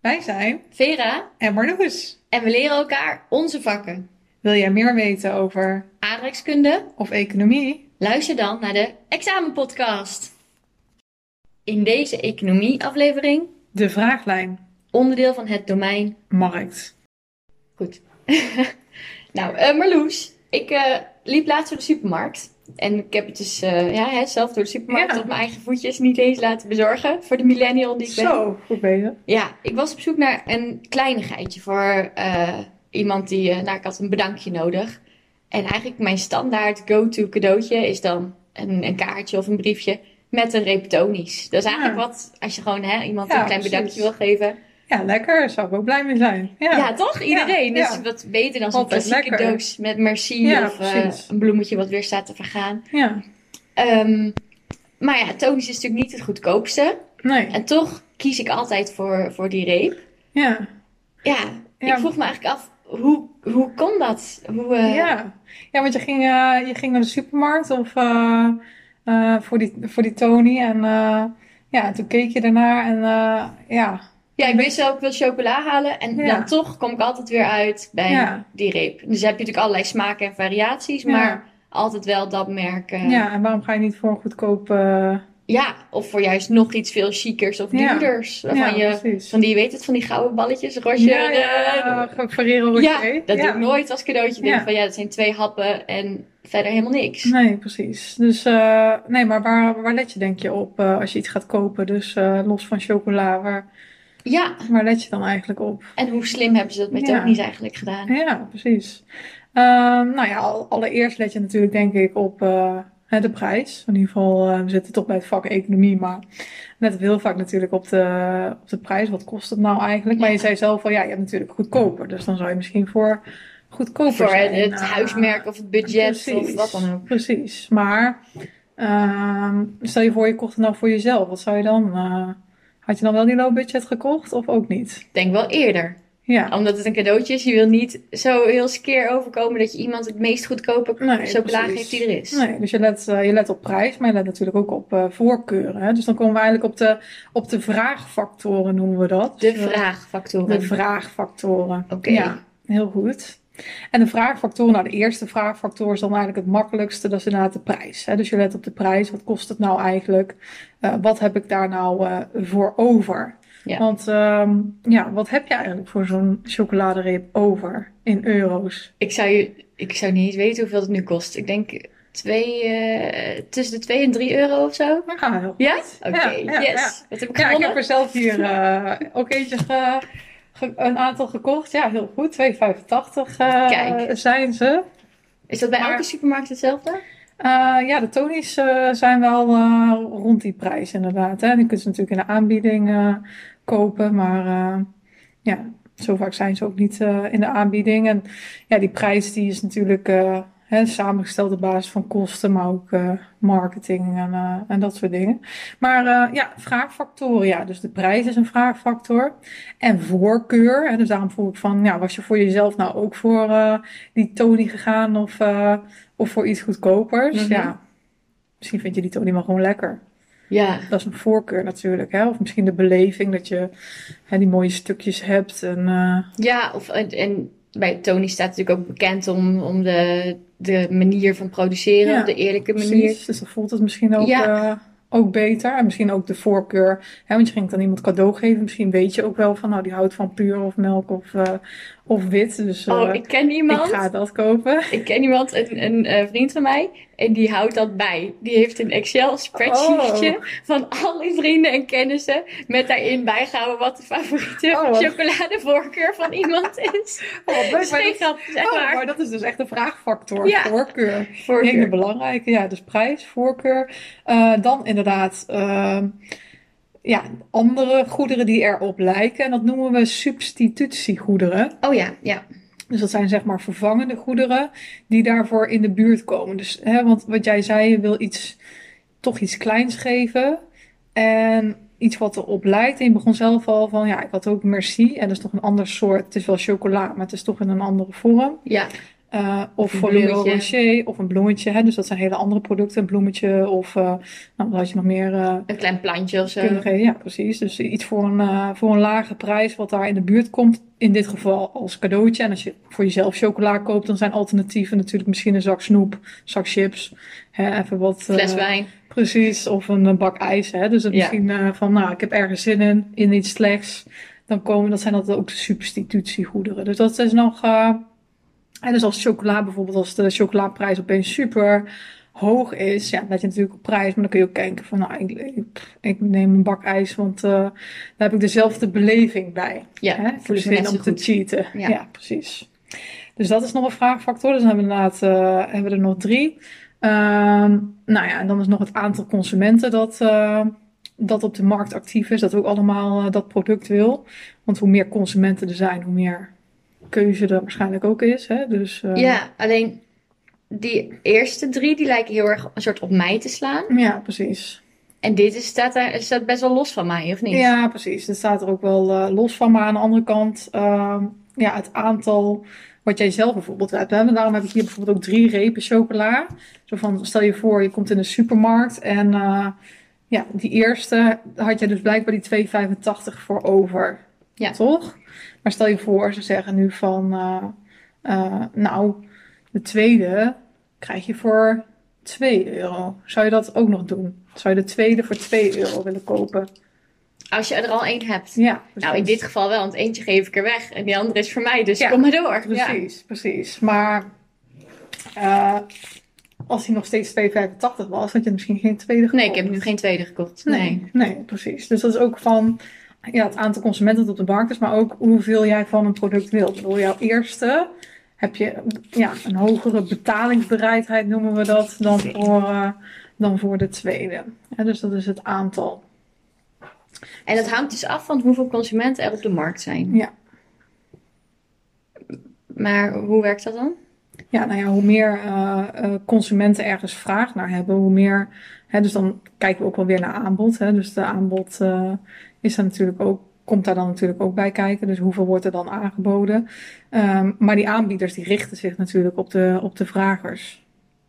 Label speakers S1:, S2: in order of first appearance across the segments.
S1: Wij zijn
S2: Vera
S1: en Marloes.
S2: en we leren elkaar onze vakken.
S1: Wil jij meer weten over
S2: Aardrijkskunde,
S1: of economie?
S2: luister dan naar de examenpodcast. In deze economieaflevering
S1: De vraaglijn
S2: onderdeel van het domein
S1: markt.
S2: Goed. nou, eh Marloes, ik eh, liep laatst door de supermarkt. En ik heb het dus eh, ja, hè, zelf door de supermarkt
S1: Ja.
S2: op mijn eigen voetjes niet eens laten bezorgen. Voor de millennial die ik ben.
S1: Zo, goed bezig.
S2: Ja, ik was op zoek naar een kleinigheidje voor eh, iemand die... eh, nou, ik had een bedankje nodig. En eigenlijk mijn standaard go-to cadeautje is dan een, een kaartje of een briefje met een reptonisch. Dat is
S1: Ja.
S2: eigenlijk wat, als je gewoon hè, iemand
S1: Ja,
S2: een klein
S1: precies.
S2: bedankje wil geven,
S1: Ja, lekker. Zou ik ook blij mee zijn. Ja,
S2: ja, toch? Iedereen.
S1: ja.
S2: Dus wat beter dan zo'n
S1: Altijd
S2: klassieke
S1: lekker.
S2: doos met merci
S1: Ja,
S2: of eh,
S1: precies.
S2: een bloemetje wat weer staat te vergaan.
S1: ja.
S2: Ehm, maar ja, tonisch is natuurlijk niet het goedkoopste.
S1: nee.
S2: En toch kies ik altijd voor, voor die reep.
S1: Ja.
S2: Ja,
S1: Ja.
S2: ik vroeg me eigenlijk af, hoe, hoe kon dat? Hoe, eh,
S1: ja. ja, want je ging, eh, je ging naar de supermarkt of eh, eh, voor, die, voor die Tony. En eh, ja, toen keek je daarnaar en eh, ja.
S2: ja, ik wist wel, ik wil chocola halen. En
S1: Ja.
S2: dan toch kom ik altijd weer uit bij
S1: Ja.
S2: die reep. Dus heb je natuurlijk allerlei smaken en variaties,
S1: Ja.
S2: maar altijd wel dat merk. eh,
S1: ja, en waarom ga je niet voor een goedkoop... eh,
S2: ja, of voor juist nog iets veel chiquers of
S1: Ja.
S2: duurders. Waarvan
S1: ja,
S2: je
S1: precies.
S2: Van die, je weet het, van die gouden balletjes, Roger.
S1: Ja, ja,
S2: eh,
S1: eh, Ferrero
S2: ja,
S1: Rocher.
S2: dat doe ik nooit als cadeautje. Denk
S1: Ja.
S2: van ja, dat zijn twee happen en verder helemaal niks.
S1: Nee, precies. Dus eh, nee, maar waar, waar let je denk je op eh, als je iets gaat kopen? Dus eh, los van chocola, waar,
S2: Ja,
S1: waar let je dan eigenlijk op?
S2: en hoe slim hebben ze dat met
S1: Ja.
S2: Tony's eigenlijk gedaan?
S1: Ja, precies. Ehm, nou ja, al- allereerst let je natuurlijk denk ik op eh, hè, de prijs. In ieder geval, eh, we zitten toch bij het vak economie, maar let heel vaak natuurlijk op de, op de prijs. Wat kost het nou eigenlijk? Maar je zei zelf al, ja, je hebt natuurlijk goedkoper. Dus dan zou je misschien voor goedkoper
S2: Voor
S1: zijn.
S2: het
S1: Eh,
S2: huismerk of het budget of wat dan ook.
S1: Precies. Maar ehm, stel je voor, je kocht het nou voor jezelf. Wat zou je dan? eh, had je dan wel die low budget gekocht of ook niet?
S2: Ik Denk wel eerder.
S1: Ja.
S2: Omdat het een cadeautje is, je wil niet zo heel skeer overkomen dat je iemand het meest goedkope
S1: Nee,
S2: chocola
S1: precies.
S2: geeft die er is.
S1: Nee, dus je let, eh, je let op prijs, maar je let natuurlijk ook op eh, voorkeuren. Hè? Dus dan komen we eigenlijk op de, op de vraagfactoren, noemen we dat.
S2: De
S1: Dus, eh,
S2: vraagfactoren.
S1: De vraagfactoren.
S2: Oké.
S1: Ja, heel goed. En de vraagfactor, nou de eerste vraagfactor is dan eigenlijk het makkelijkste, dat is inderdaad de prijs. Hè? Dus je let op de prijs, wat kost het nou eigenlijk? Eh, wat heb ik daar nou eh, voor over?
S2: Ja.
S1: Want ehm, ja, wat heb je eigenlijk voor zo'n chocoladereep over in euro's?
S2: Ik zou, je, ik zou niet eens weten hoeveel het nu kost. Ik denk twee, eh, tussen de 2 en 3 euro of zo.
S1: Dan gaan we heel
S2: Ja? Oké,
S1: Ja, ja,
S2: yes. Wat heb ik
S1: Ja, ik
S2: gewonnen?
S1: heb er zelf hier eh, ook eentje ge- ge- een aantal gekocht. Ja, heel goed. 2,85 eh,
S2: Kijk.
S1: zijn ze.
S2: Is dat bij
S1: Maar-
S2: elke supermarkt hetzelfde?
S1: Eh, ja, de tonies eh, zijn wel eh, rond die prijs inderdaad. Hè. Die kun je natuurlijk in de aanbieding eh, kopen, maar eh, ja, zo vaak zijn ze ook niet eh, in de aanbieding. En ja, die prijs die is natuurlijk eh, hè, samengesteld op basis van kosten, maar ook eh, marketing en, eh, en dat soort dingen. Maar eh, ja, vraagfactoren, ja, dus de prijs is een vraagfactor. En voorkeur, hè, dus daarom vroeg ik van, ja, was je voor jezelf nou ook voor eh, die Tony gegaan of... eh, of voor iets goedkopers.
S2: Mhm.
S1: Ja. Misschien vind je die Tony wel gewoon lekker.
S2: Ja.
S1: Dat is een voorkeur natuurlijk. Hè? Of misschien de beleving dat je hè, die mooie stukjes hebt. En, eh,
S2: Ja, of, en, en bij Tony staat natuurlijk ook bekend om, om de, de manier van produceren,
S1: Ja,
S2: op de eerlijke manier.
S1: precies. Dus dan voelt het misschien ook,
S2: Ja.
S1: eh, ook beter. En misschien ook de voorkeur. Hè? Want je ging dan iemand cadeau geven. Misschien weet je ook wel van nou die houdt van puur of melk of, eh, of wit. Dus eh,
S2: Oh, ik ken
S1: ik
S2: iemand.
S1: ga dat kopen.
S2: Ik ken iemand, een, een eh, vriend van mij, en die houdt dat bij. Die heeft een Excel spreadsheetje
S1: Oh.
S2: van alle vrienden en kennissen, met daarin bijgehouden wat de favoriete
S1: Oh, wat-
S2: chocoladevoorkeur van iemand is.
S1: Oh, wat leuk.
S2: Dat is
S1: Maar
S2: geen
S1: dat-
S2: grap, dat is echt
S1: oh,
S2: waar.
S1: maar dat is dus echt een vraagfactor.
S2: Ja.
S1: Voorkeur. Ik denk
S2: Voorkeur.
S1: de belangrijke, ja, dus prijs, voorkeur. Eh, dan inderdaad, ehm, ja, andere goederen die erop lijken. En dat noemen we substitutiegoederen.
S2: Oh ja, ja.
S1: Dus dat zijn zeg maar vervangende goederen die daarvoor in de buurt komen. Dus, hè, want wat jij zei, je wil iets, toch iets kleins geven. En iets wat erop lijkt. En je begon zelf al van, ja, ik had ook merci. En dat is toch een ander soort. Het is wel chocola, maar het is toch in een andere vorm.
S2: ja.
S1: Eh, Eh, of
S2: Een
S1: voor Leroy
S2: bloemetje.
S1: Rocher of een bloemetje. Hè? Dus dat zijn hele andere producten. Een bloemetje of eh, nou, wat had je nog meer eh,
S2: Een klein plantje of zo.
S1: kunnen geven. Ja, precies. Dus iets voor een, eh, voor een lage prijs wat daar in de buurt komt. In dit geval als cadeautje. En als je voor jezelf chocola koopt, dan zijn alternatieven natuurlijk misschien een zak snoep, zak chips. Hè? Even wat... eh,
S2: Fles wijn.
S1: Precies, of een eh, bak ijs. Hè? Dus dat
S2: Ja.
S1: misschien eh, van, nou, ik heb ergens zin in, in iets slechts. Dan komen, dat zijn altijd ook substitutiegoederen. Dus dat is nog, eh, en dus als chocola bijvoorbeeld, als de chocolaprijs opeens super hoog is, ja, dan let je natuurlijk op prijs, maar dan kun je ook kijken van, nou, ik, ik, pff, ik neem een bak ijs, want eh, daar heb ik dezelfde beleving bij.
S2: Ja,
S1: hè? Ik heb
S2: voel ik me
S1: zin
S2: net zo
S1: om te
S2: goed.
S1: cheaten.
S2: Ja.
S1: ja, precies. Dus dat is nog een vraagfactor. Dus dan hebben we inderdaad eh, hebben we er nog drie. Ehm, nou ja, en dan is nog het aantal consumenten dat, eh, dat op de markt actief is, dat ook allemaal eh, dat product wil. Want hoe meer consumenten er zijn, hoe meer keuze er waarschijnlijk ook is. Hè? Dus, eh,
S2: Ja, alleen die eerste drie die lijken heel erg een soort op mij te slaan.
S1: ja, precies.
S2: En dit is, staat, daar, staat best wel los van mij, of niet?
S1: Ja, precies. Dat staat er ook wel eh, los van. Maar aan de andere kant, ehm, ja, het aantal wat jij zelf bijvoorbeeld hebt. Hè? En daarom heb ik hier bijvoorbeeld ook drie repen chocola. Zo van, stel je voor, je komt in de supermarkt en eh, ja, die eerste had je dus blijkbaar die 2,85 voor over.
S2: Ja.
S1: Toch? Maar stel je voor, ze zeggen nu van, eh, eh, nou, de tweede krijg je voor 2 euro. Zou je dat ook nog doen? Zou je de tweede voor 2 euro willen kopen?
S2: Als je er al één hebt.
S1: Ja,
S2: Nou, in
S1: precies.
S2: dit geval wel, want eentje geef ik er weg en die andere is voor mij, dus
S1: Ja,
S2: kom maar door. Ja.
S1: Precies, precies. Maar eh, als hij nog steeds 2,85 was, had je misschien geen tweede
S2: Nee, ik
S1: gekocht.
S2: heb nu geen tweede gekocht. Nee.
S1: Nee, nee, precies. Dus dat is ook van ja, het aantal consumenten dat op de markt is, maar ook hoeveel jij van een product wilt. Ik bedoel, jouw eerste heb je ja, een hogere betalingsbereidheid, noemen we dat, dan voor, eh, dan voor de tweede. Ja, dus dat is het aantal.
S2: En dat hangt dus af van hoeveel consumenten er op de markt zijn.
S1: Ja.
S2: Maar hoe werkt dat dan?
S1: Ja, nou ja, hoe meer eh, eh, consumenten ergens vraag naar hebben, hoe meer. Hè, dus dan kijken we ook wel weer naar aanbod. Hè, dus de aanbod eh, is daar natuurlijk ook, komt daar dan natuurlijk ook bij kijken. Dus hoeveel wordt er dan aangeboden? Ehm, maar die aanbieders die richten zich natuurlijk op de, op de vragers.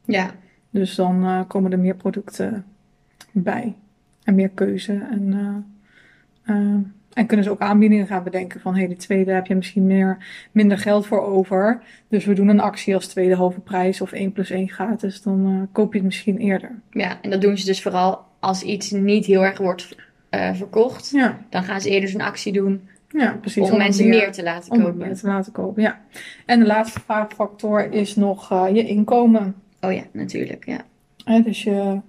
S2: Ja.
S1: Dus dan eh, komen er meer producten bij en meer keuze. En, eh, eh, en kunnen ze ook aanbiedingen gaan bedenken van hé, hey, die tweede heb je misschien meer, minder geld voor over. Dus we doen een actie als tweede halve prijs of 1 plus 1 gratis. Dan eh, koop je het misschien eerder.
S2: Ja, en dat doen ze dus vooral als iets niet heel erg wordt eh, verkocht.
S1: Ja,
S2: Dan gaan ze eerder zo'n actie doen
S1: ja precies.
S2: om,
S1: het
S2: mensen meer te laten
S1: om het
S2: kopen.
S1: meer te laten kopen. Ja. En de laatste vraagfactor is nog eh, je inkomen.
S2: Oh ja, natuurlijk. Ja.
S1: Hè, dus je,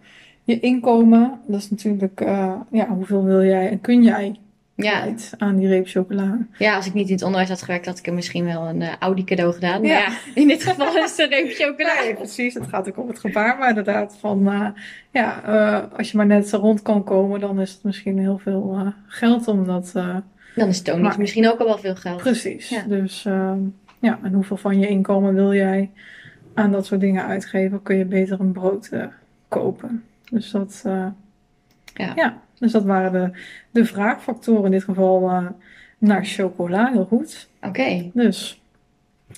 S1: je inkomen, dat is natuurlijk eh, ja, hoeveel wil jij en kun jij
S2: Ja.
S1: kwijt aan die reep chocola.
S2: ja, als ik niet in het onderwijs had gewerkt, had ik er misschien wel een eh, Audi cadeau gedaan. Maar
S1: Ja.
S2: ja, in dit geval is het een reep chocola.
S1: Nee, precies. Het gaat ook om het gebaar. Maar inderdaad, van, eh, ja, eh, als je maar net zo rond kan komen, dan is het misschien heel veel eh, geld om dat. eh,
S2: Dan is Tony
S1: Maar-
S2: misschien ook al wel veel geld.
S1: Precies.
S2: Ja.
S1: Dus ehm, ja, en hoeveel van je inkomen wil jij aan dat soort dingen uitgeven? Kun je beter een brood eh, kopen? Dus dat, eh,
S2: Ja.
S1: dus dat waren de, de vraagfactoren in dit geval eh, naar chocola. Heel goed.
S2: Oké.
S1: Dus.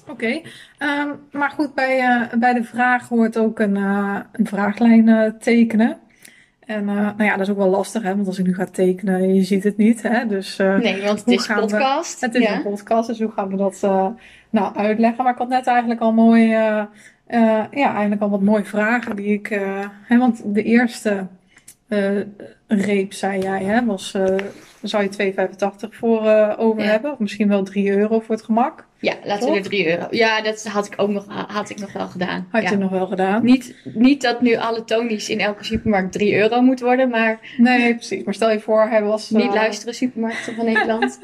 S1: Oké, Ehm, maar goed, bij, eh, bij de vraag hoort ook een, eh, een vraaglijn eh, tekenen. En eh, nou ja, dat is ook wel lastig, hè? want als ik nu ga tekenen, je ziet het niet. Hè? Dus eh,
S2: Nee, want het
S1: Hoe
S2: is een
S1: gaan we-
S2: podcast.
S1: het is
S2: ja.
S1: een podcast, dus hoe gaan we dat eh, nou uitleggen? Maar ik had net eigenlijk al mooi, eh, eh, ja, eigenlijk al wat mooie vragen die ik. eh, hè, want de eerste eh, reep, zei jij, hè, was, eh, zou je 2,85 voor eh, over
S2: Ja. hebben?
S1: hebben? Of misschien wel 3 euro voor het gemak?
S2: Ja, laten
S1: Toch?
S2: we er 3 euro. Ja, dat had ik ook nog, had ik nog wel gedaan.
S1: Had
S2: Ja.
S1: je nog wel gedaan?
S2: Niet, niet dat nu alle Tony's in elke supermarkt 3 euro moet worden, maar
S1: Nee, precies. Maar stel je voor, hij was.
S2: niet
S1: eh,
S2: luisteren supermarkten van Nederland.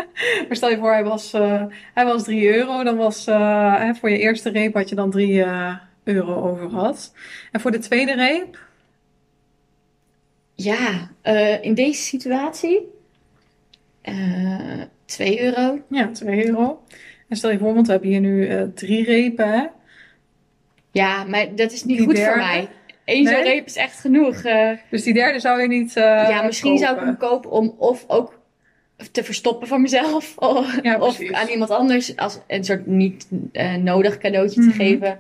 S1: Maar stel je voor, hij was, eh, hij was 3 euro. Dan was eh, hè, voor je eerste reep had je dan 3 eh, euro over gehad. En voor de tweede reep.
S2: ja, eh, in deze situatie eh 2 euro.
S1: Ja, 2 euro. En stel je voor, want we hebben hier nu eh, drie repen, hè?
S2: Ja, maar dat is niet
S1: Die
S2: goed voor
S1: derde?
S2: mij. Eén zo'n
S1: Nee?
S2: reep is echt genoeg. Eh,
S1: Dus die derde zou je niet eh,
S2: ja, misschien zou ik
S1: kopen.
S2: hem kopen om of ook te verstoppen van mezelf. Of,
S1: Ja,
S2: of
S1: precies.
S2: aan iemand anders als een soort niet eh, nodig cadeautje te
S1: Mhm.
S2: geven.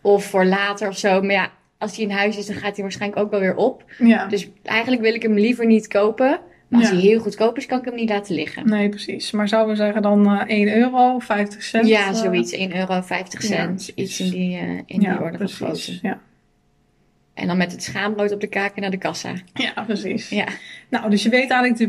S2: Of voor later of zo. Maar ja, als hij in huis is, dan gaat hij waarschijnlijk ook wel weer op.
S1: Ja,
S2: Dus eigenlijk wil ik hem liever niet kopen. Maar als
S1: Ja.
S2: hij heel goedkoop is, kan ik hem niet laten liggen.
S1: nee, precies. Maar zouden we zeggen dan eh 1 euro, 50 cent?
S2: ja,
S1: eh,
S2: zoiets. 1,50 euro, cent.
S1: precies.
S2: iets in die, eh, in
S1: ja,
S2: die orde van
S1: precies.
S2: grootte.
S1: Ja.
S2: En dan met het schaamrood op de kaken naar de kassa.
S1: ja, precies.
S2: Ja,
S1: Nou, dus je weet eigenlijk de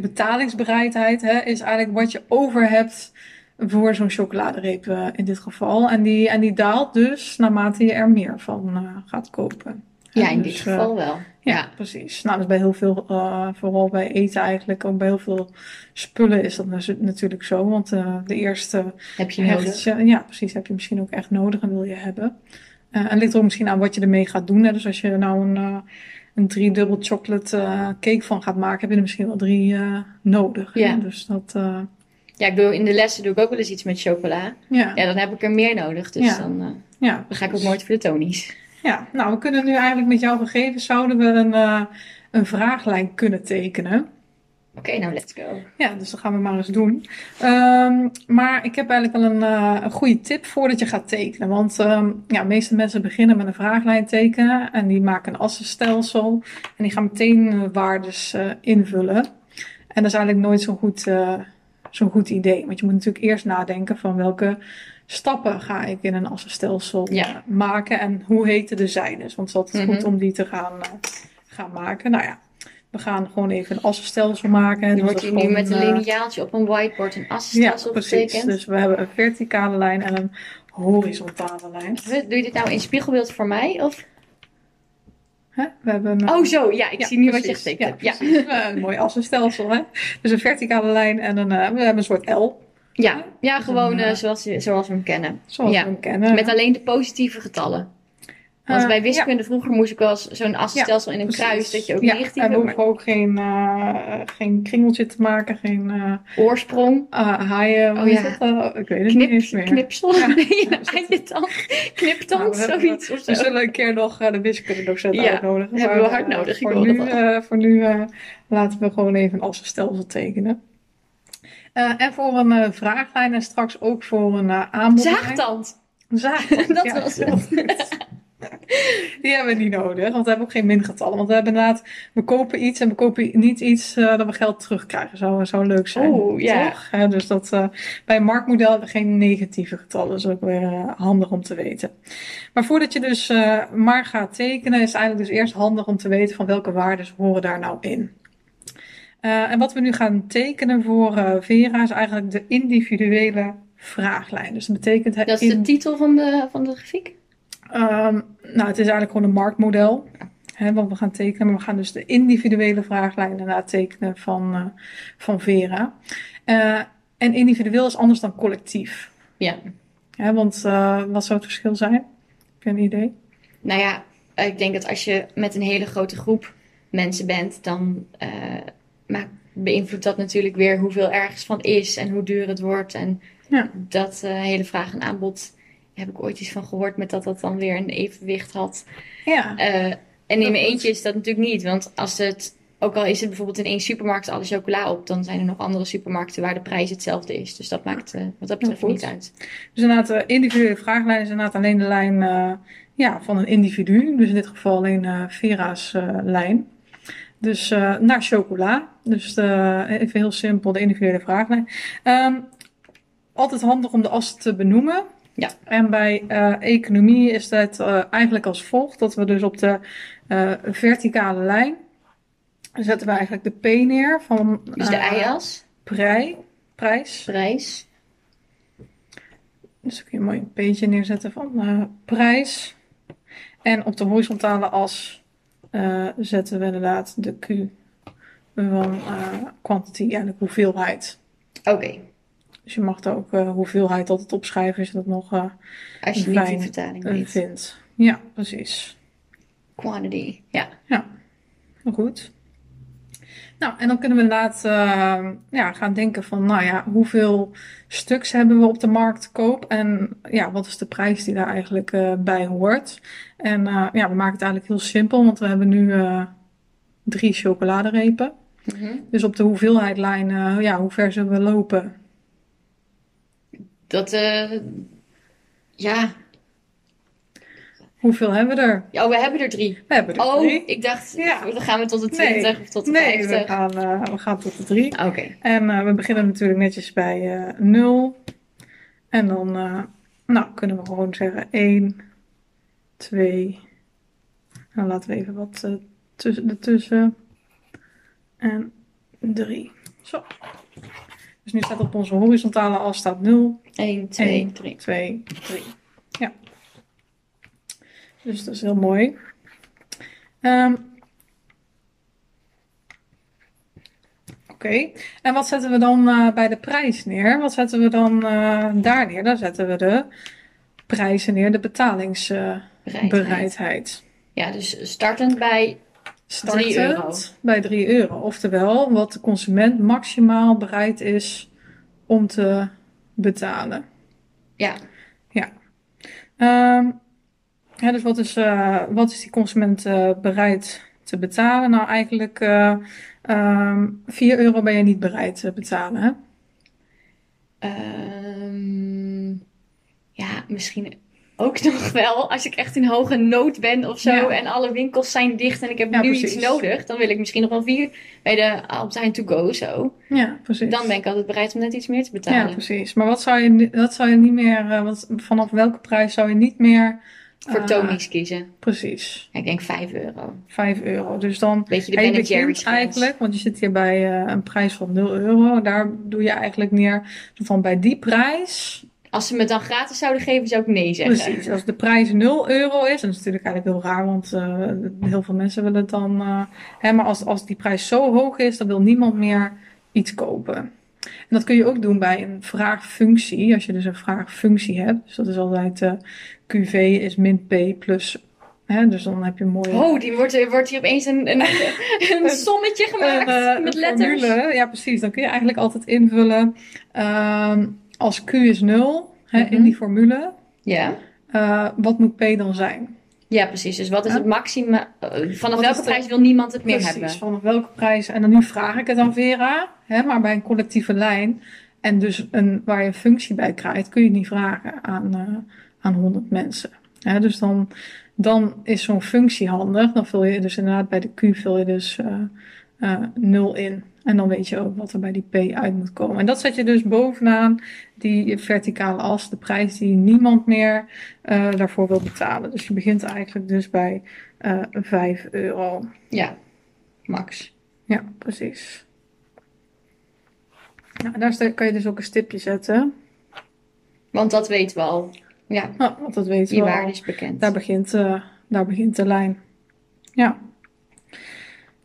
S1: betalingsbereidheid hè, is eigenlijk wat je over hebt voor zo'n chocoladereep eh, in dit geval. En die, en die daalt dus naarmate je er meer van eh, gaat kopen.
S2: ja in
S1: En
S2: dit
S1: dus, eh,
S2: geval wel.
S1: ja,
S2: Ja.
S1: precies. Nou, dus bij heel veel, eh, vooral bij eten eigenlijk, ook bij heel veel spullen is dat na- natuurlijk zo. Want eh, de eerste
S2: Heb je nodig.
S1: hechtje- eh, ja, precies, heb je misschien ook echt nodig en wil je hebben. Eh, en ligt er ook misschien aan wat je ermee gaat doen. Hè? Dus als je er nou een, eh een driedubbel chocolate eh, cake van gaat maken, heb je er misschien wel drie eh, nodig. hè.
S2: Ja.
S1: Dus dat, eh,
S2: Ja, ik doe in de lessen doe ik ook wel eens iets met chocola.
S1: ja.
S2: Ja, dan heb ik er meer nodig. Dus
S1: Ja.
S2: dan, eh,
S1: ja,
S2: dan ga ik ook nooit voor de Tony's.
S1: Ja, nou, we kunnen nu eigenlijk met jouw gegevens, zouden we een, eh, een vraaglijn kunnen tekenen.
S2: Oké, nou let's go.
S1: Ja, dus dat gaan we maar eens doen. Ehm, maar ik heb eigenlijk wel een, eh, een goede tip voordat je gaat tekenen. Want ehm ja, de meeste mensen beginnen met een vraaglijn tekenen en die maken een assenstelsel en die gaan meteen eh, waardes eh, invullen. En dat is eigenlijk nooit zo'n goed, eh, zo'n goed idee. Want je moet natuurlijk eerst nadenken van welke stappen ga ik in een assenstelsel
S2: Ja.
S1: eh, maken en hoe heten de zijdes. Want het is altijd
S2: Mhm.
S1: goed om die te gaan, eh, gaan maken. Nou ja. We gaan gewoon even een assenstelsel maken.
S2: Dan
S1: Dus
S2: wordt
S1: dat
S2: hier nu
S1: gewoon,
S2: met een
S1: eh,
S2: liniaaltje op een whiteboard een
S1: ja,
S2: assenstelsel
S1: precies.
S2: getekend.
S1: Dus we hebben een verticale lijn en een horizontale lijn.
S2: Huh, Doe je dit nou in spiegelbeeld voor mij? Of...
S1: Hè? We hebben een,
S2: Oh, zo. Ja, ik
S1: Ja,
S2: zie nu wat je
S1: precies.
S2: getekend
S1: Ja,
S2: hebt. Ja.
S1: precies. Eh, een mooi assenstelsel, hè? Dus een verticale lijn en een, eh, we hebben een soort L,
S2: Ja, ja
S1: Dus
S2: gewoon
S1: een, eh,
S2: eh, zoals, zoals we hem kennen.
S1: zoals
S2: Ja.
S1: we hem kennen.
S2: Met alleen de positieve getallen. Want
S1: Eh,
S2: bij
S1: ja,
S2: wiskunde vroeger moest ik wel eens zo'n assenstelsel in een
S1: precies.
S2: kruis. Dat je ook
S1: ja,
S2: negatieve...
S1: en we
S2: maar
S1: hoeven ook geen, eh, geen kringeltje te maken, geen eh
S2: Oorsprong.
S1: eh, haaien.
S2: Oh
S1: hoe
S2: ja.
S1: heet dat? Eh, ik weet het niet
S2: Knip,
S1: eens meer.
S2: knipsel.
S1: Ja.
S2: Nee, aan je tand. Kniptand,
S1: Nou, we hebben-
S2: zoiets. Of zo.
S1: We zullen een keer nog eh, de wiskundedocent
S2: Ja,
S1: uitnodigen.
S2: hebben
S1: maar,
S2: we hard
S1: eh,
S2: nodig, ik
S1: Voor
S2: hoor
S1: nu,
S2: dat al.
S1: eh, voor nu eh, laten we gewoon even een assenstelsel tekenen. Eh, en voor een eh, vraaglijn en straks ook voor een eh aanbodlijn.
S2: Zaagtand.
S1: Zaagtand,
S2: Dat
S1: ja,
S2: was
S1: heel goed. Die hebben we niet nodig, want we hebben ook geen mingetallen. Want we hebben inderdaad, we kopen iets en we kopen niet iets eh, dat we geld terugkrijgen. Zou, zou leuk zijn,
S2: Oeh, ja.
S1: toch? Hè, dus dat, eh, bij een marktmodel hebben we geen negatieve getallen. Dat is ook weer eh, handig om te weten. Maar voordat je dus eh, maar gaat tekenen, is het eigenlijk dus eerst handig om te weten van welke waarden horen daar nou in. Eh, en wat we nu gaan tekenen voor eh, Vera is eigenlijk de individuele vraaglijn. Dus dat betekent... hè,
S2: Dat is de
S1: in-
S2: titel van de, van de grafiek.
S1: Ehm, nou, het is eigenlijk gewoon een marktmodel. Hè, want we gaan tekenen, maar we gaan dus de individuele vraaglijnen na tekenen van, eh, van Vera. Eh, en individueel is anders dan collectief.
S2: Ja.
S1: Hè, want eh, wat zou het verschil zijn? Heb je een idee?
S2: Nou ja, eh, ik denk dat als je met een hele grote groep mensen bent, dan eh, maakt, beïnvloedt dat natuurlijk weer hoeveel ergens van is en hoe duur het wordt. En
S1: Ja.
S2: dat eh, hele vraag en aanbod heb ik ooit iets van gehoord met dat dat dan weer een evenwicht had.
S1: Ja,
S2: Eh, en in
S1: klopt.
S2: mijn eentje is dat natuurlijk niet, want als het, ook al is het bijvoorbeeld in één supermarkt alle chocola op, dan zijn er nog andere supermarkten waar de prijs hetzelfde is. Dus dat maakt eh, wat dat betreft
S1: goed.
S2: niet uit.
S1: dus inderdaad, de individuele vraaglijn is inderdaad alleen de lijn eh, ja, van een individu. Dus in dit geval alleen eh, Vera's eh, lijn. Dus eh, naar chocola. Dus de, even heel simpel, de individuele vraaglijn. Ehm, altijd handig om de as te benoemen.
S2: Ja.
S1: En bij eh, economie is dat eh, eigenlijk als volgt. Dat we dus op de eh, verticale lijn zetten we eigenlijk de P neer van
S2: Dus de
S1: eh,
S2: IAS,
S1: prij- prijs.
S2: prijs,
S1: Dus dan kun je mooi een peentje neerzetten van eh, prijs. En op de horizontale as eh, zetten we inderdaad de Q van eh quantity, eigenlijk hoeveelheid.
S2: oké.
S1: Dus je mag er ook eh, hoeveelheid altijd opschrijven als je dat nog eh,
S2: Als je niet die
S1: Fijn.
S2: vertaling
S1: eh,
S2: weet.
S1: vindt. Ja, precies.
S2: Quantity. Ja.
S1: Nou, Goed. Nou, en dan kunnen we inderdaad eh, ja, gaan denken van, nou ja, hoeveel stuks hebben we op de markt te koop? En ja, wat is de prijs die daar eigenlijk eh, bij hoort? En eh, ja, we maken het eigenlijk heel simpel, want we hebben nu eh, drie chocoladerepen.
S2: Mhm.
S1: Dus op de hoeveelheidlijn, eh, ja, hoe ver zullen we lopen?
S2: Dat, eh, ja.
S1: Hoeveel hebben we er?
S2: ja, we hebben er drie.
S1: We hebben er
S2: Oh,
S1: drie.
S2: ik dacht,
S1: Ja.
S2: dan gaan we tot de
S1: Nee.
S2: 20 of tot de
S1: Nee,
S2: 50.
S1: we gaan, eh, we gaan tot de drie.
S2: Oké.
S1: En eh, we beginnen natuurlijk netjes bij eh 0. En dan eh, nou, kunnen we gewoon zeggen 1, 2. Dan Nou, laten we even wat eh tussen, ertussen. En 3. Zo. Dus nu staat op onze horizontale as staat 0,
S2: 1, 2,
S1: Eén.
S2: 3.
S1: 2, 3. Ja. Dus dat is heel mooi. Ehm, Oké, en wat zetten we dan eh, bij de prijs neer? Wat zetten we dan eh, daar neer? Daar zetten we de prijzen neer, de betalingsbereidheid.
S2: Ja, dus startend bij
S1: Startend
S2: Drie euro.
S1: bij 3 euro. Oftewel, wat de consument maximaal bereid is om te betalen.
S2: Ja.
S1: Ehm, ja, dus wat is, eh, wat is die consument eh, bereid te betalen? Nou, eigenlijk eh ehm 4 euro ben je niet bereid te betalen. Hè?
S2: Ehm, ja, misschien ook nog wel. Als ik echt in hoge nood ben of zo.
S1: Ja.
S2: En alle winkels zijn dicht en ik heb
S1: Ja,
S2: nu
S1: precies.
S2: iets nodig. Dan wil ik misschien nog wel vier bij de Albert Heijn To Go zo.
S1: Ja, precies.
S2: Dan ben ik altijd bereid om net iets meer te
S1: Ja,
S2: betalen.
S1: precies. Maar wat zou je, ni- wat zou je niet meer, eh, wat, vanaf welke prijs zou je niet meer.
S2: Voor
S1: eh,
S2: Tony's kiezen.
S1: Precies,
S2: Ja, ik denk 5 euro.
S1: 5 euro. Dus dan.
S2: Beetje de
S1: Hey,
S2: Ben
S1: begint
S2: Jerry's grens.
S1: eigenlijk, want je zit hier bij eh, een prijs van 0 euro. Daar doe je eigenlijk neer van bij die prijs.
S2: Als ze me dan gratis zouden geven, zou ik nee zeggen.
S1: Precies, als de prijs 0 euro is, dan is het natuurlijk eigenlijk heel raar, want eh, heel veel mensen willen het dan. eh, hè, maar als, als die prijs zo hoog is, dan wil niemand meer iets kopen. En dat kun je ook doen bij een vraagfunctie, als je dus een vraagfunctie hebt. Dus dat is altijd eh, QV is min P plus. Hè, dus dan heb je een mooie.
S2: Oh, die wordt, wordt hier opeens een, een, een sommetje gemaakt
S1: Een, eh,
S2: met
S1: een
S2: letters.
S1: formule. Ja, precies. Dan kun je eigenlijk altijd invullen ehm, als Q is 0 hè, in
S2: Mhm.
S1: die formule.
S2: Ja.
S1: eh, wat moet P dan zijn?
S2: ja, precies. Dus wat is
S1: Ja.
S2: het maximum? eh, Vanaf
S1: Wat is
S2: welke
S1: de-
S2: prijs wil niemand het meer hebben?
S1: Precies, van welke prijs. En dan nu vraag ik het aan Vera, hè, maar bij een collectieve lijn en dus een, waar je een functie bij krijgt, kun je het niet vragen aan, eh, aan 100 mensen. Hè, dus dan, dan is zo'n functie handig. Dan vul je dus inderdaad bij de Q vul je dus eh eh, 0 in. En dan weet je ook wat er bij die P uit moet komen. En dat zet je dus bovenaan die verticale as, de prijs die niemand meer eh, daarvoor wil betalen. Dus je begint eigenlijk dus bij eh 5 euro.
S2: Ja, max.
S1: Ja, precies. Nou, en daar sta- kan je dus ook een stipje zetten.
S2: Want dat weten we al. Ja,
S1: Nou, want dat weten
S2: die
S1: we
S2: waarde
S1: al.
S2: is bekend.
S1: Daar begint, eh, daar begint de lijn. Ja.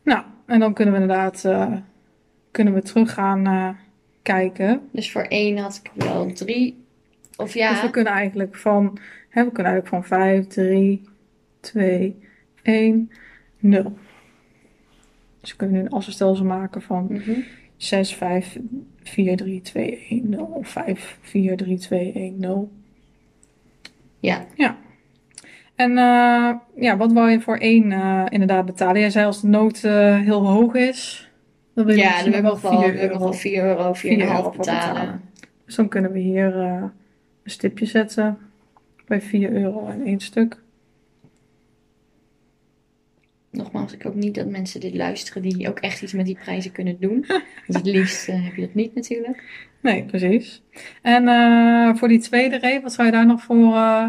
S1: Nou, en dan kunnen we inderdaad eh, kunnen we terug gaan eh, kijken.
S2: Dus voor één had ik wel drie. Of ja,
S1: Dus we kunnen eigenlijk van, hè, we kunnen eigenlijk van 5, 3, 2, 1, 0. Dus we kunnen nu een assenstelsel maken van
S2: mhm.
S1: 6, 5, 4, 3, 2, 1, 0. Of 5, 4, 3, 2, 1, 0.
S2: ja.
S1: En eh, ja, wat wou je voor één eh, inderdaad betalen? Jij zei als de nood eh, heel hoog is, dan wil je
S2: ja, dan
S1: misschien
S2: wil ik
S1: wel
S2: nog wel
S1: 4
S2: wil ik nog
S1: euro,
S2: wel 4 euro, 4,5
S1: 4 euro voor
S2: betalen.
S1: Dus dan kunnen we hier eh, een stipje zetten bij 4 euro in één stuk.
S2: Nogmaals, ik hoop niet dat mensen dit luisteren die ook echt iets met die prijzen kunnen doen. Want het liefst eh, heb je dat niet natuurlijk.
S1: Nee, precies. En eh, voor die tweede reep, wat zou je daar nog voor eh,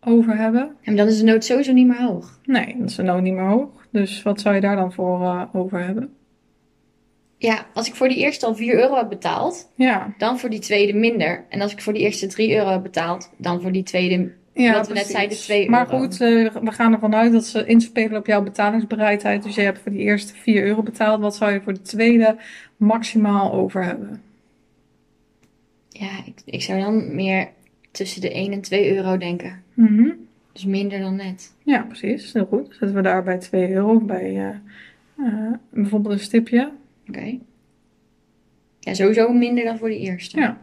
S1: over hebben?
S2: En dan is de nood sowieso niet meer hoog.
S1: Nee, dat is de nood niet meer hoog. Dus wat zou je daar dan voor eh, over hebben?
S2: Ja, als ik voor die eerste al 4 euro heb betaald,
S1: Ja,
S2: dan voor die tweede minder. En als ik voor die eerste 3 euro heb betaald, dan voor die tweede.
S1: Ja,
S2: Wat we net zeiden, 2
S1: Maar
S2: euro.
S1: goed, eh, we gaan ervan uit dat ze inspelen op jouw betalingsbereidheid. Dus je hebt voor die eerste 4 euro betaald. Wat zou je voor de tweede maximaal over hebben?
S2: Ja, ik, ik zou dan meer tussen de 1 en 2 euro denken.
S1: Mhm.
S2: Dus minder dan net.
S1: Ja, precies. Heel goed. Zetten we daar bij 2 euro of bij eh, eh, bijvoorbeeld een stipje.
S2: Oké. Ja, sowieso minder dan voor die eerste.
S1: Ja.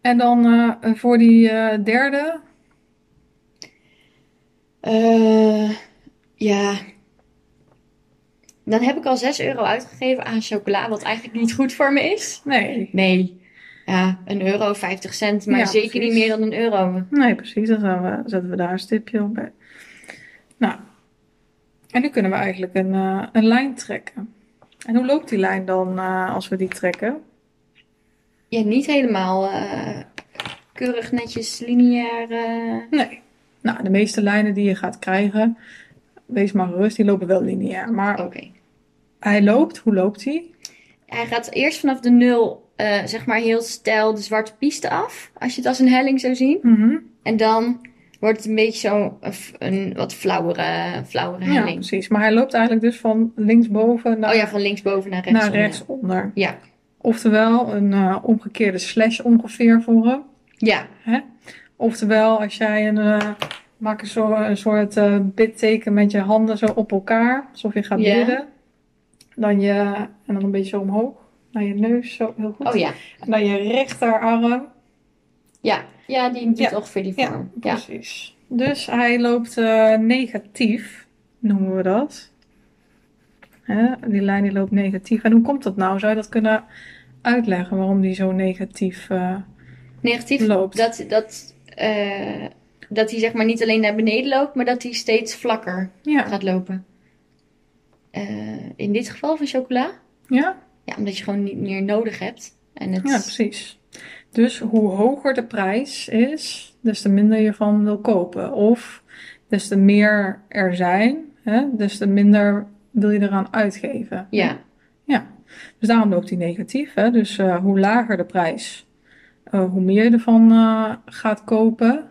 S1: En dan eh, voor die eh, derde.
S2: Eh, ja. Dan heb ik al 6 euro uitgegeven aan chocola, wat eigenlijk niet goed voor me is.
S1: Nee.
S2: Nee, ja, een euro, 50 cent, maar
S1: Ja,
S2: zeker
S1: precies.
S2: niet meer dan een euro.
S1: Nee, precies. Dan gaan we- zetten we daar een stipje op bij. Nou. En nu kunnen we eigenlijk een, eh, een lijn trekken. En hoe loopt die lijn dan eh, als we die trekken?
S2: Ja, niet helemaal eh, keurig netjes lineair. eh.
S1: Nee. Nou, de meeste lijnen die je gaat krijgen, wees maar gerust, die lopen wel lineair. Maar
S2: Oké.
S1: hij loopt, hoe loopt hij?
S2: Hij gaat eerst vanaf de nul, eh, zeg maar heel stijl, de zwarte piste af. Als je het als een helling zou zien.
S1: Mhm.
S2: En dan wordt het een beetje zo'n een, f- een wat flauwere, flauwere
S1: Ja,
S2: helling.
S1: precies. Maar hij loopt eigenlijk dus van linksboven naar,
S2: Oh ja, van linksboven naar rechts.
S1: naar
S2: om, ja.
S1: rechtsonder.
S2: Ja.
S1: Oftewel een eh, omgekeerde slash ongeveer voor hem.
S2: Ja,
S1: Oftewel, als jij een, eh, maak een soort, een soort eh, bidteken met je handen zo op elkaar, alsof je gaat
S2: Ja.
S1: bidden. Dan je, en dan een beetje zo omhoog, naar je neus, zo heel goed.
S2: oh ja.
S1: En dan je rechterarm,
S2: Ja, ja die doet
S1: Ja.
S2: ongeveer die
S1: Ja,
S2: vorm. Ja.
S1: precies. Dus hij loopt eh, negatief, noemen we dat. Hè? Die lijn die loopt negatief. En hoe komt dat nou? Zou je dat kunnen uitleggen, waarom die zo negatief eh,
S2: Negatief,
S1: loopt?
S2: dat, dat, eh, dat hij zeg maar niet alleen naar beneden loopt, maar dat hij steeds vlakker
S1: Ja.
S2: gaat lopen. Eh, in dit geval van chocola.
S1: ja?
S2: Ja, omdat je gewoon niet meer nodig hebt. En het,
S1: Ja, precies. Dus hoe hoger de prijs is, des te minder je van wil kopen. Of des te meer er zijn, hè, des te minder wil je eraan uitgeven.
S2: ja,
S1: Ja. Dus daarom loopt die negatief. Hè? Dus eh, hoe lager de prijs, eh, hoe meer je ervan eh, gaat kopen.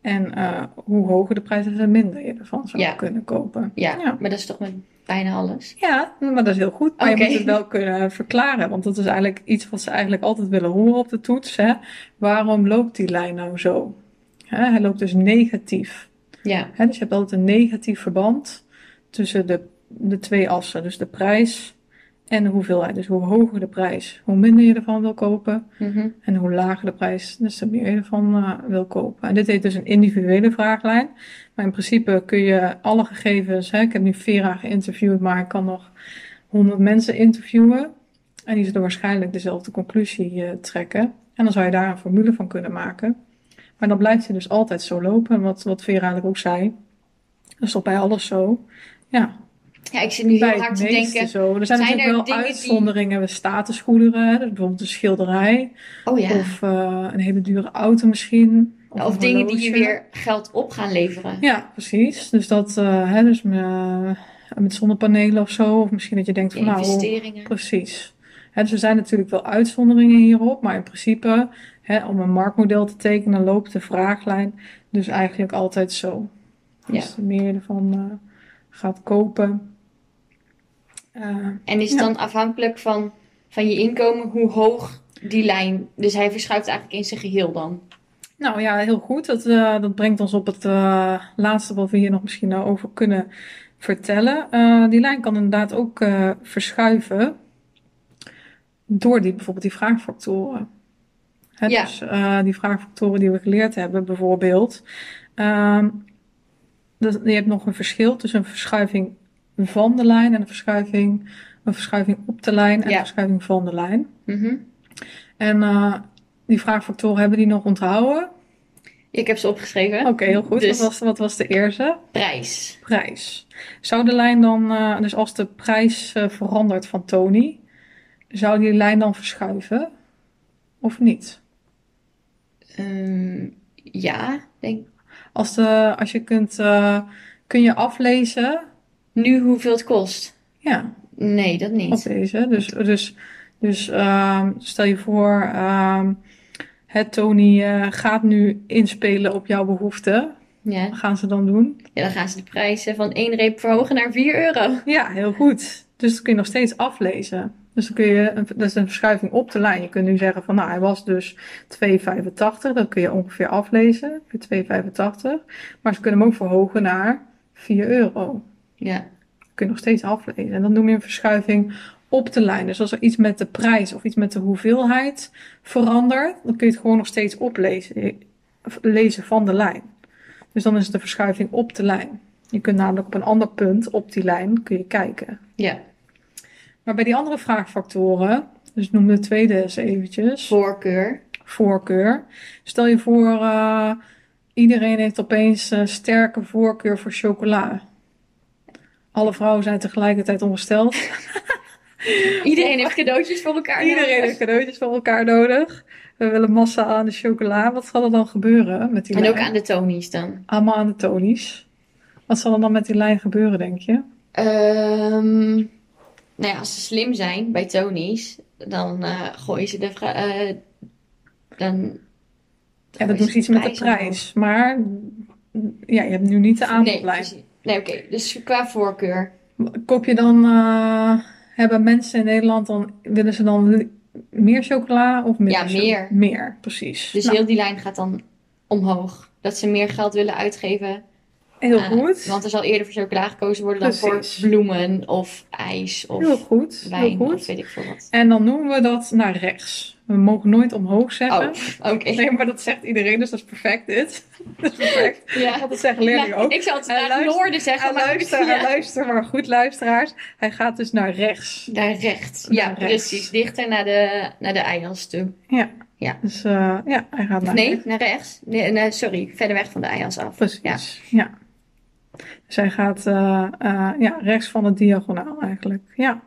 S1: En eh, hoe hoger de prijs, des te minder je ervan zou
S2: Ja.
S1: kunnen kopen.
S2: ja,
S1: Ja.
S2: maar dat is toch met bijna alles.
S1: Ja, maar dat is heel goed. Maar je
S2: Oké.
S1: moet het wel kunnen verklaren. Want dat is eigenlijk iets wat ze eigenlijk altijd willen horen op de toets. Hè? Waarom loopt die lijn nou zo? Hè, hij loopt dus negatief.
S2: Ja,
S1: Hè? Dus je hebt altijd een negatief verband tussen de, de twee assen. Dus de prijs en de hoeveelheid. Dus hoe hoger de prijs, hoe minder je ervan wil kopen.
S2: mhm.
S1: En hoe lager de prijs, des te meer je ervan eh, wil kopen. En dit heet dus een individuele vraaglijn. Maar in principe kun je alle gegevens... Hè, ik heb nu Vera geïnterviewd, maar ik kan nog 100 mensen interviewen. En die zullen waarschijnlijk dezelfde conclusie eh, trekken. En dan zou je daar een formule van kunnen maken. Maar dan blijft hij dus altijd zo lopen. Wat, wat Vera eigenlijk ook zei. Dat is toch bij alles zo. Ja,
S2: ja, ik zit nu
S1: bij
S2: heel
S1: het
S2: hard te
S1: meeste
S2: denken.
S1: zo. Er zijn,
S2: zijn er
S1: natuurlijk wel
S2: dingen die-
S1: uitzonderingen. We statusgoederen, hè, dus bijvoorbeeld een schilderij...
S2: Oh ja. Of,
S1: Of eh, een hele dure auto misschien. een
S2: dingen die je
S1: horloge.
S2: weer geld op gaan leveren.
S1: Ja, precies. Dus dat, eh, hè, dus eh, met zonnepanelen of zo. Of misschien dat je denkt
S2: Je
S1: van nou, hoe-
S2: investeringen.
S1: precies. Hè, dus er zijn natuurlijk wel uitzonderingen hierop. Maar in principe, hè, om een marktmodel te tekenen, loopt de vraaglijn dus eigenlijk altijd zo. Dus hoe meer je ervan eh, gaat kopen. eh,
S2: En is
S1: Ja.
S2: dan afhankelijk van, van je inkomen hoe hoog die lijn. Dus hij verschuift eigenlijk in zijn geheel dan.
S1: Nou ja, heel goed. Dat, eh, dat brengt ons op het eh, laatste wat we hier nog misschien eh, over kunnen vertellen. Eh, die lijn kan inderdaad ook eh, verschuiven door die, bijvoorbeeld die vraagfactoren. Hè,
S2: Ja.
S1: Dus eh, die vraagfactoren die we geleerd hebben, bijvoorbeeld. Ehm, dat, je hebt nog een verschil tussen een verschuiving van de lijn en een verschuiving, een verschuiving op de lijn en
S2: Ja.
S1: een verschuiving van de lijn.
S2: Mhm.
S1: En eh, die vraagfactoren hebben die nog onthouden?
S2: Ik heb ze opgeschreven.
S1: Oké, heel goed.
S2: Dus
S1: Wat, was, wat was de eerste?
S2: prijs.
S1: Prijs. Zou de lijn dan, eh, dus als de prijs eh, verandert van Tony, zou die lijn dan verschuiven? Of niet?
S2: Ehm, ja, denk
S1: Als, de, als je kunt, eh, kun je aflezen,
S2: nu hoeveel het kost.
S1: ja,
S2: Nee, dat
S1: op
S2: niet.
S1: deze. Dus, dus, dus ehm, stel je voor, ehm, het Tony eh, gaat nu inspelen op jouw behoeften.
S2: Ja.
S1: Wat gaan ze dan doen?
S2: ja, dan gaan ze de prijzen van één reep verhogen naar 4 euro.
S1: Ja, heel goed. Dus dat kun je nog steeds aflezen. Dus dan kun je, een- dat is een verschuiving op de lijn. Je kunt nu zeggen van, nou, hij was dus 2,85. Dat kun je ongeveer aflezen, voor 2,85. Maar ze kunnen hem ook verhogen naar 4 euro.
S2: Ja,
S1: Dat kun je nog steeds aflezen. En dat noem je een verschuiving op de lijn. Dus als er iets met de prijs of iets met de hoeveelheid verandert, dan kun je het gewoon nog steeds eh, oplezen. Lezen van de lijn. Dus dan is het een verschuiving op de lijn. Je kunt namelijk op een ander punt op die lijn kun je kijken.
S2: Ja.
S1: Maar bij die andere vraagfactoren, dus noem de tweede eens eventjes,
S2: Voorkeur.
S1: voorkeur. Stel je voor, eh, iedereen heeft opeens een sterke voorkeur voor chocola. Alle vrouwen zijn tegelijkertijd ongesteld.
S2: Iedereen heeft cadeautjes voor elkaar.
S1: Iedereen heeft cadeautjes van elkaar nodig. We willen massa aan de chocola. Wat zal er dan gebeuren met die
S2: En
S1: lijn?
S2: ook aan de Tony's dan.
S1: Allemaal aan de tonies. Wat zal er dan met die lijn gebeuren, denk je?
S2: Ehm, nou ja, als ze slim zijn bij Tony's, dan eh, gooien ze de vra- eh,
S1: Ja,
S2: dan gooien
S1: dat doet
S2: ze
S1: iets met de
S2: omhoog.
S1: prijs. Maar ja, je hebt nu niet de
S2: Nee,
S1: aanbodlijn.
S2: precies. nee oké. Dus qua voorkeur.
S1: Koop je dan, eh, hebben mensen in Nederland dan, willen ze dan li- meer chocola of minder?
S2: Ja,
S1: chocola?
S2: meer.
S1: Meer, precies.
S2: Dus
S1: Nou,
S2: heel die lijn gaat dan omhoog. Dat ze meer geld willen uitgeven.
S1: heel
S2: aan-
S1: goed.
S2: Ah, Want er zal eerder voor chocola gekozen worden dan
S1: Precies.
S2: voor bloemen of ijs of
S1: heel goed, heel
S2: wijn
S1: goed.
S2: of weet ik veel wat.
S1: En dan noemen we dat naar rechts. We mogen nooit omhoog zeggen.
S2: Oh, oké.
S1: Nee, maar dat zegt iedereen, dus dat is perfect dit. Dat is perfect.
S2: Ja.
S1: Dat zeggen leerlingen
S2: Nou,
S1: ook.
S2: ik zou het
S1: En
S2: naar het
S1: luister-
S2: noorden zeggen,
S1: En
S2: maar
S1: luister, eh,
S2: Ja.
S1: en luister maar goed, luisteraars. Hij gaat dus naar rechts.
S2: Naar rechts.
S1: Naar
S2: Ja,
S1: rechts.
S2: precies. Dichter naar de, naar de eikels toe.
S1: Dus eh, ja, hij gaat naar
S2: Nee,
S1: rechts.
S2: naar rechts. Nee, nee, sorry, verder weg van de eikels af.
S1: Precies, ja. Dus hij gaat eh, eh, ja, rechts van de diagonaal eigenlijk, ja.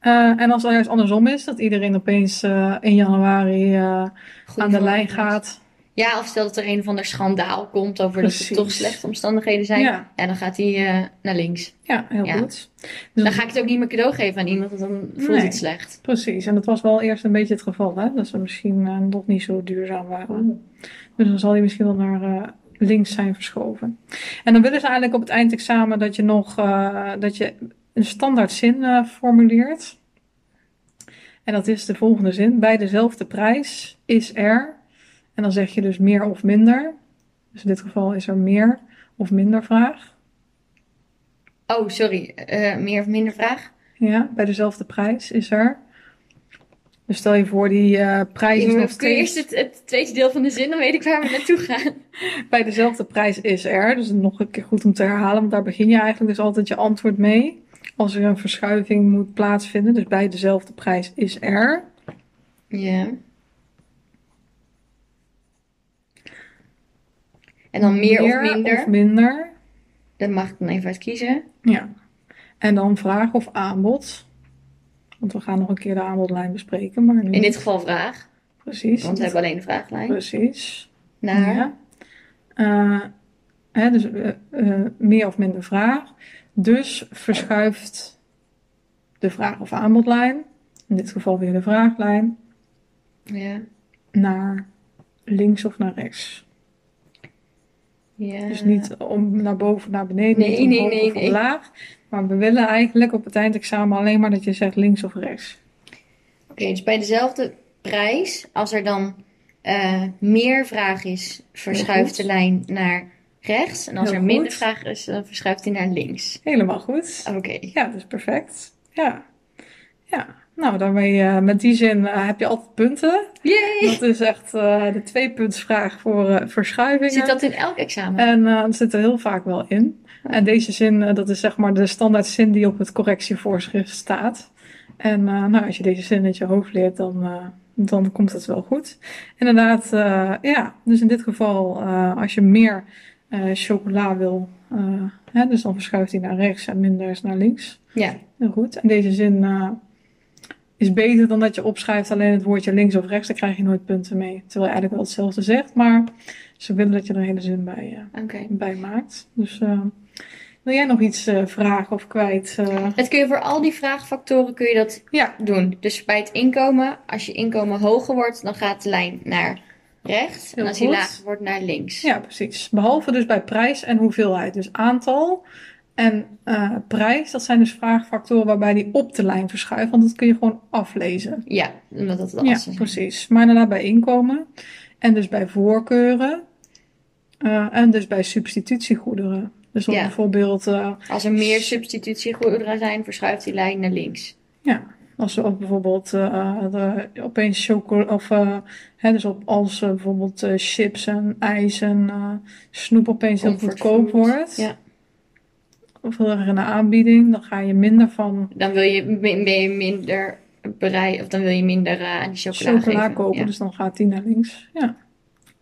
S1: Eh, en als het juist andersom is, dat iedereen opeens eh, in januari eh,
S2: Goed
S1: aan de
S2: voor-
S1: lijn gaat.
S2: Ja, of stel dat er een of ander schandaal komt over dat
S1: Precies.
S2: er toch slechte omstandigheden zijn.
S1: Ja,
S2: En dan gaat hij eh, naar links.
S1: ja, heel
S2: Ja.
S1: goed. Dus
S2: Dan ga ik het ook niet meer cadeau geven aan iemand, want dan voelt
S1: Nee.
S2: het slecht.
S1: Precies, en dat was wel eerst een beetje het geval, hè? dat ze misschien eh, nog niet zo duurzaam waren. Dus dan zal die misschien wel naar eh, links zijn verschoven. En dan willen ze eigenlijk op het eindexamen dat je nog eh, dat je een standaard zin eh, formuleert. En dat is de volgende zin: bij dezelfde prijs is er. En dan zeg je dus meer of minder. Dus in dit geval is er meer of minder vraag.
S2: Oh, sorry. Eh, meer of minder vraag?
S1: Ja, bij dezelfde prijs is er. Dus stel je voor, die eh, prijs is nog
S2: Kun je
S1: steeds.
S2: eerst het, het tweede deel van de zin, dan weet ik waar we naartoe gaan.
S1: bij dezelfde prijs is er. Dus nog een keer goed om te herhalen, want daar begin je eigenlijk dus altijd je antwoord mee. Als er een verschuiving moet plaatsvinden, dus bij dezelfde prijs is er.
S2: Ja. En dan meer, of minder.
S1: Of minder.
S2: Dat mag ik dan even uitkiezen.
S1: Ja. En dan vraag of aanbod. Want we gaan nog een keer de aanbodlijn bespreken, maar nu
S2: In dit geval vraag,
S1: precies.
S2: want we hebben alleen de vraaglijn.
S1: Precies.
S2: Naar
S1: Oh, Ja. Eh, hè, dus eh, eh, meer of minder vraag. Dus verschuift de vraag of aanbodlijn, in dit geval weer de vraaglijn,
S2: ja.
S1: naar links of naar rechts.
S2: Ja.
S1: Dus niet om naar boven, naar beneden,
S2: Eh. Nee,
S1: niet
S2: nee,
S1: omhoog
S2: nee,
S1: of
S2: nee.
S1: omlaag. Maar we willen eigenlijk op het eindexamen alleen maar dat je zegt links of rechts.
S2: Oké, dus bij dezelfde prijs, als er dan eh, meer vraag is,
S1: goed.
S2: verschuift de lijn naar rechts. En als
S1: Heel
S2: er minder
S1: goed.
S2: vraag is, dan verschuift die naar links.
S1: Helemaal goed.
S2: Oké.
S1: Ja, dat is perfect. Ja. Ja. Nou, daarmee, eh, met die zin eh, heb je altijd punten.
S2: Yay!
S1: Dat is echt eh, de tweepuntsvraag voor eh, verschuivingen.
S2: Zit dat in elk examen?
S1: En eh, dat zit er heel vaak wel in. En deze zin, eh, dat is zeg maar de standaard zin die op het correctievoorschrift staat. En eh, nou, als je deze zin uit je hoofd leert, dan, eh, dan komt het wel goed. Inderdaad, eh, ja. Dus in dit geval, eh, als je meer eh, chocola wil, eh, hè, dus dan verschuift hij naar rechts en minder is naar links.
S2: Ja.
S1: Heel goed. En deze zin eh, is beter dan dat je opschrijft alleen het woordje links of rechts. Daar krijg je nooit punten mee. Terwijl je eigenlijk wel hetzelfde zegt, maar ze willen dat je er een hele zin bij, eh,
S2: Oké.
S1: bij maakt. Dus eh, wil jij nog iets eh, vragen of kwijt? eh?
S2: Dat kun je voor al die vraagfactoren kun je dat
S1: Ja.
S2: doen. Dus bij het inkomen, als je inkomen hoger wordt, dan gaat de lijn naar rechts.
S1: Heel
S2: en als die
S1: goed.
S2: lager wordt, naar links.
S1: ja, precies. Behalve dus bij prijs en hoeveelheid. Dus aantal en eh, prijs, dat zijn dus vraagfactoren waarbij die op de lijn verschuiven. Want dat kun je gewoon aflezen.
S2: Ja, omdat dat de
S1: Ja,
S2: assen zijn.
S1: precies. Maar daarna bij inkomen en dus bij voorkeuren eh, en dus bij substitutiegoederen. Dus dan
S2: Ja.
S1: bijvoorbeeld eh,
S2: Als er meer substitutiegoederen zijn, verschuift die lijn naar links.
S1: als we ook bijvoorbeeld eh, de, opeens chocola of eh, hè, dus op als eh, bijvoorbeeld eh, chips en ijs en eh, snoep opeens heel
S2: Comfort
S1: goedkoop
S2: food.
S1: wordt,
S2: Ja.
S1: hoeveelere aanbieding, dan ga je minder van
S2: Dan wil je, min- ben je minder bereid, of dan wil je minder eh, aan die chocola
S1: chocola
S2: geven.
S1: kopen.
S2: Ja.
S1: Dus dan gaat die naar links. Ja,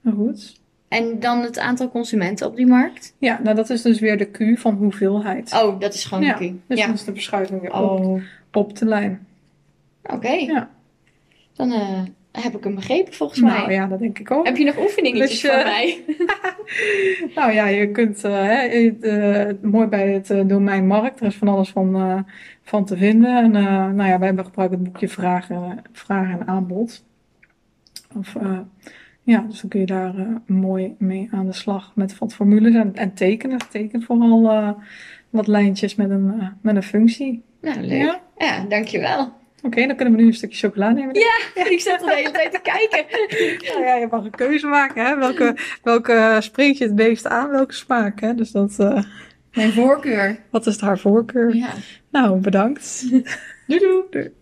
S1: maar goed.
S2: En dan het aantal consumenten op die markt.
S1: Ja, nou dat is dus weer de Q van hoeveelheid.
S2: Oh, dat is gewoon
S1: Ja,
S2: een Q.
S1: Dus
S2: ja.
S1: dan is de beschuiting weer op,
S2: Oh,
S1: op de lijn.
S2: oké.
S1: Ja.
S2: Dan eh, heb ik hem begrepen volgens
S1: Nou
S2: mij.
S1: ja, dat denk ik ook.
S2: Heb je nog oefeningetjes
S1: Dus, eh,
S2: voor mij?
S1: Nou ja, je kunt eh, hè, eh, eh, mooi bij het eh, domein markt. Er is van alles van, eh, van te vinden. En eh, nou ja, wij hebben gebruikt het boekje Vragen, Vragen en Aanbod. Of, eh, ja, dus dan kun je daar eh, mooi mee aan de slag met wat formules en, en tekenen. Teken vooral eh, wat lijntjes met een, eh, met een functie.
S2: Nou, leuk.
S1: Ja?
S2: Ja, dankjewel.
S1: Oké, dan kunnen we nu een stukje chocola nemen.
S2: Ik zat al de hele tijd te kijken.
S1: Nou ja, je mag een keuze maken. Hè? Welke, welke spreekt je het meest aan? Welke smaak? Hè? Dus dat, eh,
S2: Mijn voorkeur.
S1: wat is haar voorkeur?
S2: Ja.
S1: Nou, bedankt.
S2: Doei doei.
S1: Doei.